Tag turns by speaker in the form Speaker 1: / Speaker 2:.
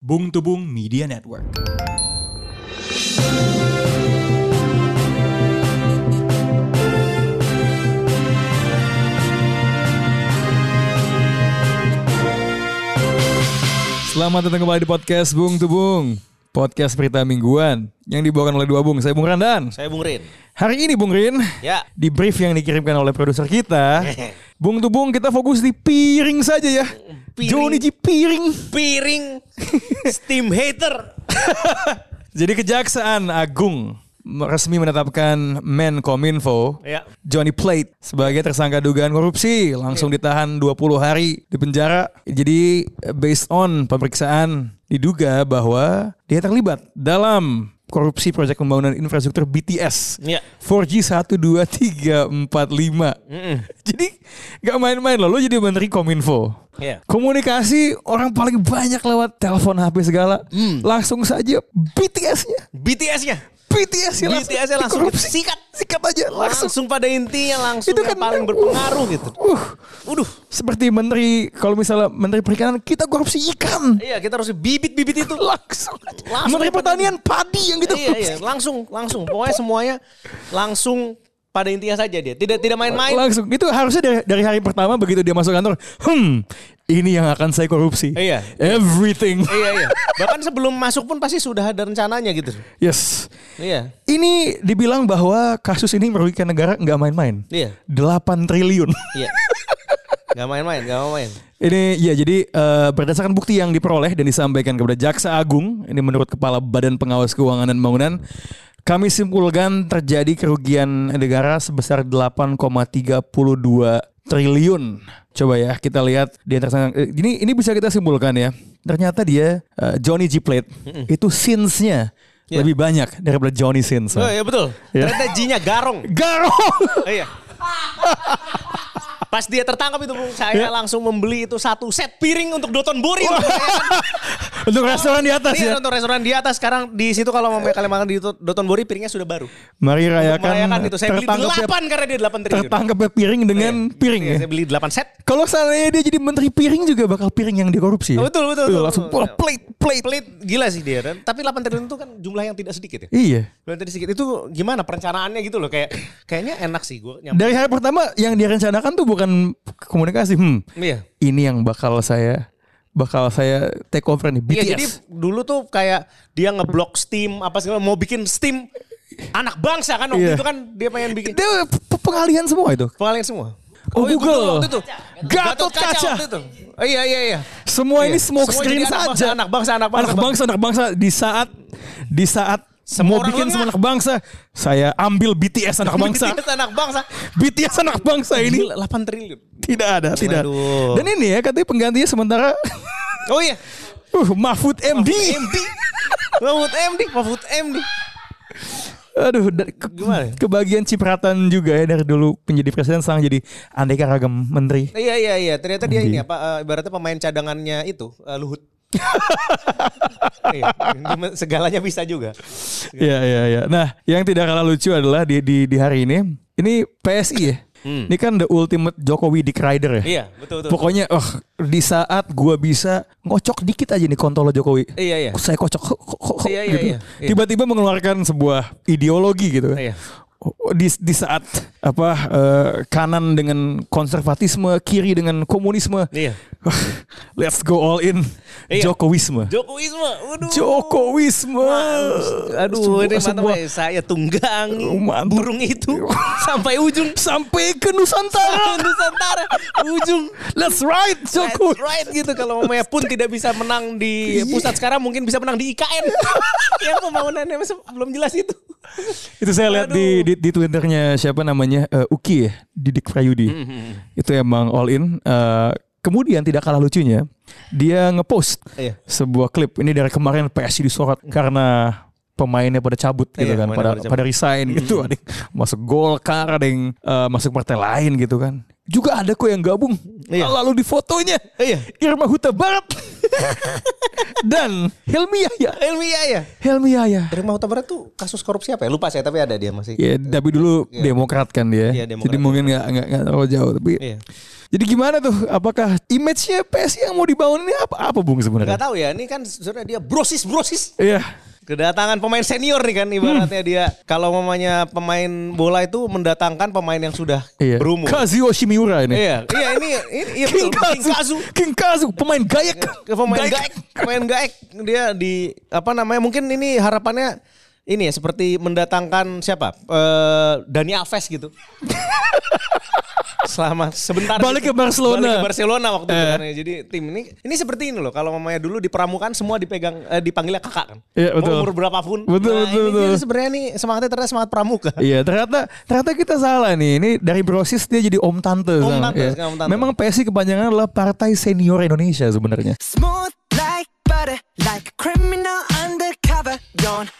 Speaker 1: Bung Tubung Media Network.
Speaker 2: Selamat datang kembali di podcast Bung Tubung. Podcast berita mingguan yang dibawakan oleh dua bung. Saya Bung Randan.
Speaker 3: Saya Bung Rin.
Speaker 2: Hari ini Bung Rin,
Speaker 3: Ya.
Speaker 2: di brief yang dikirimkan oleh produser kita, Bung Tubung kita fokus di piring saja ya.
Speaker 3: Piring.
Speaker 2: Joni Ji piring.
Speaker 3: Piring steam hater.
Speaker 2: Jadi Kejaksaan Agung resmi menetapkan Menkominfo
Speaker 3: Ya.
Speaker 2: Johnny Plate sebagai tersangka dugaan korupsi langsung ditahan 20 hari di penjara. Jadi based on pemeriksaan diduga bahwa dia terlibat dalam korupsi proyek pembangunan infrastruktur BTS.
Speaker 3: Iya.
Speaker 2: 4G 1 2 3 4 5. Jadi nggak main-main loh lo jadi menteri Kominfo.
Speaker 3: Iya.
Speaker 2: Komunikasi orang paling banyak lewat telepon HP segala.
Speaker 3: Hmm.
Speaker 2: Langsung saja BTS-nya.
Speaker 3: BTS-nya
Speaker 2: BTS-nya langsung,
Speaker 3: BTS-nya langsung
Speaker 2: dikorupsi.
Speaker 3: sikat.
Speaker 2: sikat aja langsung.
Speaker 3: langsung pada intinya langsung
Speaker 2: Itu
Speaker 3: yang
Speaker 2: kan-
Speaker 3: paling berpengaruh gitu.
Speaker 2: Uh,
Speaker 3: Waduh,
Speaker 2: seperti menteri kalau misalnya menteri perikanan kita korupsi ikan.
Speaker 3: iya kita harus bibit-bibit itu.
Speaker 2: Langsung. aja.
Speaker 3: Langsung
Speaker 2: menteri
Speaker 3: daripada-
Speaker 2: pertanian padi yang gitu.
Speaker 3: iya, iya, langsung langsung pokoknya semuanya langsung pada intinya saja dia. Tidak tidak main-main.
Speaker 2: Langsung itu harusnya dari, dari hari pertama begitu dia masuk kantor, hmm, ini yang akan saya korupsi.
Speaker 3: Iya.
Speaker 2: Everything.
Speaker 3: iya, iya. Bahkan sebelum masuk pun pasti sudah ada rencananya gitu.
Speaker 2: Yes.
Speaker 3: Iya.
Speaker 2: Ini dibilang bahwa kasus ini merugikan negara nggak main-main.
Speaker 3: Iya.
Speaker 2: 8 triliun.
Speaker 3: Iya. Gak main-main, gak main-main.
Speaker 2: Ini ya jadi eh, berdasarkan bukti yang diperoleh dan disampaikan kepada Jaksa Agung, ini menurut Kepala Badan Pengawas Keuangan dan Bangunan, kami simpulkan terjadi kerugian negara sebesar 8,32 triliun. Coba ya kita lihat di antara sana- eh, ini ini bisa kita simpulkan ya. Ternyata dia eh, Johnny G Plate itu sins-nya
Speaker 3: Iya.
Speaker 2: lebih banyak daripada Johnny sins.
Speaker 3: Oh, iya betul.
Speaker 2: Iya.
Speaker 3: Ternyata G-nya garong.
Speaker 2: Garong.
Speaker 3: Oh, iya. Pas dia tertangkap itu Bung,
Speaker 2: Iya.
Speaker 3: saya langsung membeli itu satu set piring untuk Doton Buri. Bung.
Speaker 2: Untuk restoran di atas ya.
Speaker 3: Iya, untuk restoran di atas sekarang di situ kalau mau kalian makan di Dot- Doton Buri piringnya sudah baru.
Speaker 2: Mari
Speaker 3: Untuk
Speaker 2: rayakan,
Speaker 3: merayakan itu saya beli
Speaker 2: tertangkapnya,
Speaker 3: 8 karena dia 8 triliun.
Speaker 2: tertangkapnya piring dengan piring
Speaker 3: Iya,
Speaker 2: ya.
Speaker 3: Saya beli 8 set.
Speaker 2: Kalau seandainya dia jadi menteri piring juga bakal piring yang dikorupsi. Ya?
Speaker 3: Betul, betul,
Speaker 2: Tuh,
Speaker 3: betul.
Speaker 2: langsung wah, plate, plate.
Speaker 3: Pelit gila sih dia kan. Tapi 8 triliun itu kan jumlah yang tidak sedikit ya.
Speaker 2: Iya.
Speaker 3: Jumlah yang tidak sedikit itu gimana perencanaannya gitu loh kayak kayaknya enak sih gue nyampe.
Speaker 2: Dari hari pertama yang direncanakan tuh bukan komunikasi. Hmm.
Speaker 3: Iya.
Speaker 2: Ini yang bakal saya bakal saya take over nih BTS.
Speaker 3: Iya jadi dulu tuh kayak dia ngeblok Steam apa segala mau bikin Steam anak bangsa kan waktu
Speaker 2: Iya.
Speaker 3: itu kan dia pengen bikin
Speaker 2: Itu pe- pengalihan semua itu.
Speaker 3: pengalian semua.
Speaker 2: Oh,
Speaker 3: iya,
Speaker 2: Google.
Speaker 3: waktu itu.
Speaker 2: Gatot Kaca.
Speaker 3: waktu itu. Oh, iya iya iya.
Speaker 2: Semua ini
Speaker 3: Iya.
Speaker 2: smoke
Speaker 3: Semua
Speaker 2: screen
Speaker 3: jadi anak
Speaker 2: saja.
Speaker 3: bangsa, anak bangsa, anak bangsa,
Speaker 2: Anak bangsa, anak bangsa. di saat di saat
Speaker 3: Semua
Speaker 2: mau
Speaker 3: orang
Speaker 2: bikin
Speaker 3: lengah.
Speaker 2: semua anak bangsa, saya ambil BTS anak bangsa.
Speaker 3: BTS anak bangsa.
Speaker 2: BTS anak bangsa ini
Speaker 3: Gila, 8 triliun.
Speaker 2: tidak ada, tidak. ada.
Speaker 3: Aduh.
Speaker 2: Dan ini ya katanya penggantinya sementara
Speaker 3: Oh iya.
Speaker 2: uh, Mahfud MD.
Speaker 3: MD. Mahfud MD, Mahfud MD.
Speaker 2: Aduh, da- ke-
Speaker 3: Gimana?
Speaker 2: kebagian cipratan juga ya dari dulu menjadi presiden sekarang jadi aneka ragam menteri.
Speaker 3: Iya iya iya, ternyata dia ini apa eh, ibaratnya pemain cadangannya itu eh, Luhut. Iya, dia segalanya bisa juga.
Speaker 2: Iya iya iya. Nah, yang tidak kalah lucu adalah di di, di hari ini ini PSI ya. Ini kan the ultimate Jokowi Dick Rider ya.
Speaker 3: Hmm. Iya, betul betul.
Speaker 2: Pokoknya oh, di saat gua bisa ngocok dikit aja nih kontol Jokowi.
Speaker 3: Iya, iya.
Speaker 2: Saya kocok kok, kok, kok,
Speaker 3: Iya, iya,
Speaker 2: gitu.
Speaker 3: iya, iya.
Speaker 2: Tiba-tiba mengeluarkan sebuah ideologi gitu.
Speaker 3: Iya.
Speaker 2: Di, di saat apa eh, kanan dengan konservatisme, kiri dengan komunisme.
Speaker 3: Iya.
Speaker 2: Let's go all in.
Speaker 3: Iya.
Speaker 2: Jokowisme.
Speaker 3: Jokowisme. Waduh.
Speaker 2: Jokowisme.
Speaker 3: Aduh,
Speaker 2: Sebuah-
Speaker 3: ini mantap
Speaker 2: sebuah-
Speaker 3: ya. Saya tunggang
Speaker 2: Mantap.
Speaker 3: burung itu Oh, sampai ujung
Speaker 2: sampai ke Nusantara.
Speaker 3: Nusantara ujung.
Speaker 2: Let's ride Jokowi.
Speaker 3: That's right gitu kalau mamanya pun tidak bisa menang di pusat sekarang mungkin bisa menang di IKN. Yang pembangunannya masih belum jelas itu.
Speaker 2: Itu saya lihat di, di di twitternya siapa namanya eh, Uki ya, Didik Prayudi.
Speaker 3: Mhm.
Speaker 2: Itu emang all in. Eh, kemudian tidak kalah lucunya, dia ngepost
Speaker 3: Iya.
Speaker 2: sebuah klip. Ini dari kemarin PSI disorot karena pemainnya pada cabut gitu
Speaker 3: Hmm. Iya,
Speaker 2: kan,
Speaker 3: pemainnya
Speaker 2: pada
Speaker 3: pada
Speaker 2: pada,
Speaker 3: cabut. Hmm.
Speaker 2: resign gitu. Ada yang masuk Golkar, ada yang eh, masuk partai lain gitu kan. juga ada kok yang gabung.
Speaker 3: Iya.
Speaker 2: Lalu di fotonya
Speaker 3: Iya.
Speaker 2: Irma Huta Barat dan Helmi Yahya.
Speaker 3: Ilmiah ya.
Speaker 2: Helmi Yahya.
Speaker 3: Dari Huta Barat tuh kasus korupsi apa ya? Lupa saya tapi ada dia masih.
Speaker 2: Ya, tapi dulu Demokrat kan dia.
Speaker 3: Iya, Demokrat.
Speaker 2: Jadi mungkin nggak nggak nggak terlalu jauh. Tapi
Speaker 3: Iya.
Speaker 2: jadi gimana tuh? Apakah image-nya PSI yang mau dibangun ini apa? Apa bung
Speaker 3: Gak
Speaker 2: sebenarnya?
Speaker 3: tahu ya, ini kan sebenarnya dia brosis brosis.
Speaker 2: Iya.
Speaker 3: Kedatangan pemain senior nih kan ibaratnya dia. Kalau mamanya pemain bola itu mendatangkan pemain yang sudah
Speaker 2: Iya.
Speaker 3: berumur.
Speaker 2: Kazuo Shimura ini.
Speaker 3: Iya, iya ini ini iya betul. Iya,
Speaker 2: King Kazu. King Kazu, pemain gayak.
Speaker 3: Ke pemain gaek, pemain gaek dia di apa namanya? Mungkin ini harapannya ini ya seperti mendatangkan siapa? Eh Dani Alves gitu. Selama sebentar gitu.
Speaker 2: Balik ke Barcelona. Eh.
Speaker 3: Balik ke Barcelona waktu itu kan ya. Jadi tim ini ini seperti ini loh. Kalau mamanya dulu di pramukaan semua dipegang eh, dipanggilnya kakak kan.
Speaker 2: Iya,
Speaker 3: Mau
Speaker 2: betul.
Speaker 3: Umur berapapun.
Speaker 2: Betul,
Speaker 3: nah,
Speaker 2: betul,
Speaker 3: ini dia
Speaker 2: betul.
Speaker 3: sebenarnya nih semangatnya ternyata semangat pramuka.
Speaker 2: Iya ternyata ternyata kita salah nih. Ini dari brosis dia jadi om tante.
Speaker 3: Om
Speaker 2: sekarang,
Speaker 3: tante,
Speaker 2: iya.
Speaker 3: sekarang om tante.
Speaker 2: Memang PSI kepanjangan adalah Partai Senior Indonesia sebenarnya.
Speaker 1: Smooth like butter, like a criminal undercover. Yawn,